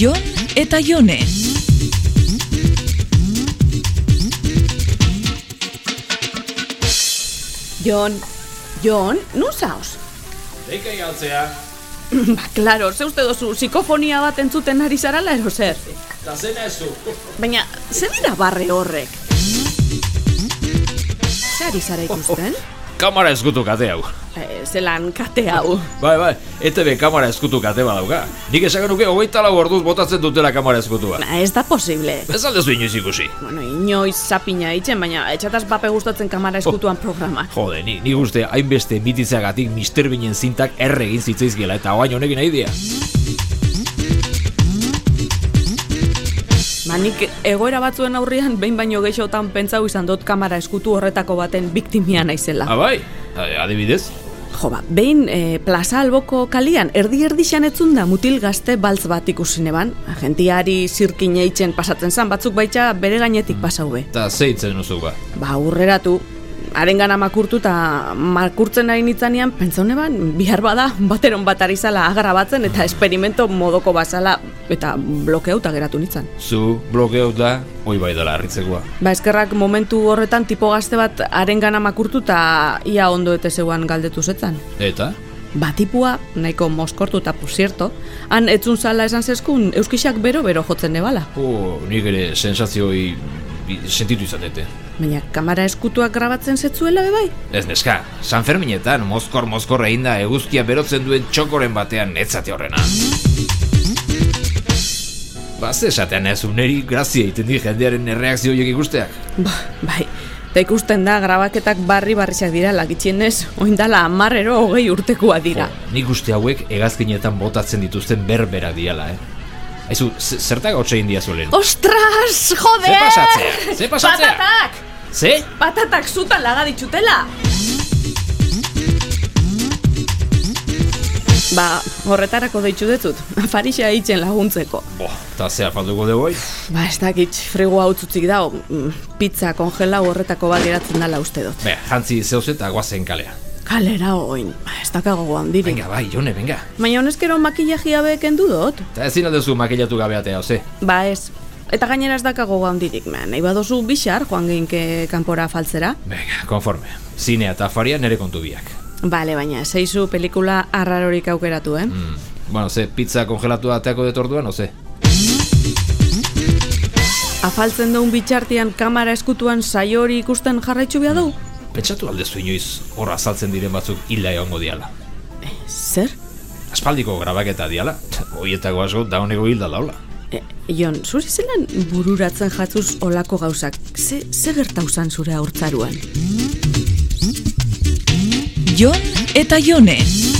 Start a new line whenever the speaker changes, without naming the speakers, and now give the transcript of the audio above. Jon eta Jone.
Jon, Jon, nun zauz?
Deika galtzea,
ba, klaro, ze uste dozu, psikofonia bat entzuten ari zarala ero zer.
eta zena ez du.
Baina, ze dira barre horrek? Ze ari zara ikusten?
Kamara ezkutu kate hau.
Eh, zelan kate hau.
Bai, bai, ETV kamara ezkutu kate badauka. Nik esagen nuke hogeita lau orduz botatzen dutela kamara ezkutua.
Na, ez da posible.
Ez aldezu inoiz ikusi.
Bueno, inoiz zapina itzen, baina etxataz bape gustatzen kamara eskutuan programa.
Jode, ni, ni uste hainbeste mititzagatik Mister Binen zintak erre egin zitzaizkiela eta oain honekin nahi dia.
Ba, nik egoera batzuen aurrian behin baino gehiotan pentsau izan dut kamara eskutu horretako baten biktimia naizela.
Ah, bai, A- adibidez?
Jo ba, behin e, plaza alboko kalian, erdi erdixan etzun da mutil gazte baltz bat ikusi neban. Agentiari zirkin eitzen pasatzen zan, batzuk baita bere gainetik pasaube.
Eta zeitzen duzu ba.
Ba, aurreratu, haren makurtu eta makurtzen ari nitzanean, pentsau neban, bihar bada, bateron bat ari zala agrabatzen eta esperimento modoko bazala eta blokeauta geratu nitzan.
Zu blokeauta, oi bai dela harritzekoa.
Ba, eskerrak momentu horretan tipo gazte bat haren makurtu eta ia ondo ete zeuan galdetu zetzan.
Eta?
Batipua, nahiko moskortu eta posierto, han etzun zala esan zeskun euskixak bero-bero jotzen nebala.
Oh, nik ere sensazioi bi- sentitu izatete.
Baina kamara eskutuak grabatzen zetzuela bai? bebai.
Ez neska, San Ferminetan mozkor mozkor eginda eguzkia berotzen duen txokoren batean netzate horrena. Baz esatean ez uneri grazia egiten di jendearen erreakzio horiek ikusteak.
Ba, bai, eta ikusten da grabaketak barri barrizak dira lagitxienez, oindala amarrero hogei urtekoa dira.
Jo, nik uste hauek hegazkinetan botatzen dituzten berbera diala, eh? Aizu, ze- zertak hau txegin diazu lehen?
Ostras, jode!
Ze pasatzea? Ze pasatzea?
Patatak!
Ze?
Patatak zutan laga ditutela! Ba, horretarako deitzu detzut, farisa itzen laguntzeko.
Bo, eta ze afalduko dugu hoi?
Ba, ez dakit, frigoa utzutik dago, mm, pizza kongela horretako bat geratzen dala uste dut.
Be, jantzi zehoz eta guazen kalea.
Kalera oin, ba, ez dakago handirik.
Venga, bai, jone, venga.
Baina honezkero makillajia beken dudot?
Eta ezin aldezu makillatu gabeatea, oze?
Ba ez. Eta gainera ez dakago handirik, man. nahi badozu bixar joan geinke kanpora faltzera.
Venga, konforme. Zinea eta faria nere kontu biak.
Bale, baina, seizu pelikula arrarorik aukeratu, eh?
Mm. Bueno, ze, pizza kongelatu ateako dut orduan, oze?
Afaltzen duen bitxartian kamara eskutuan saio hori ikusten jarraitzu behar du?
Pentsatu aldezu inoiz hor azaltzen diren batzuk hila egongo diala.
Zer?
Aspaldiko grabaketa diala, hoietako asko dauneko hilda daula.
E, Jon, zuri zelan bururatzen jatzuz olako gauzak. Ze, ze gertauzan zure aurtzaruan?
Jon eta Jone.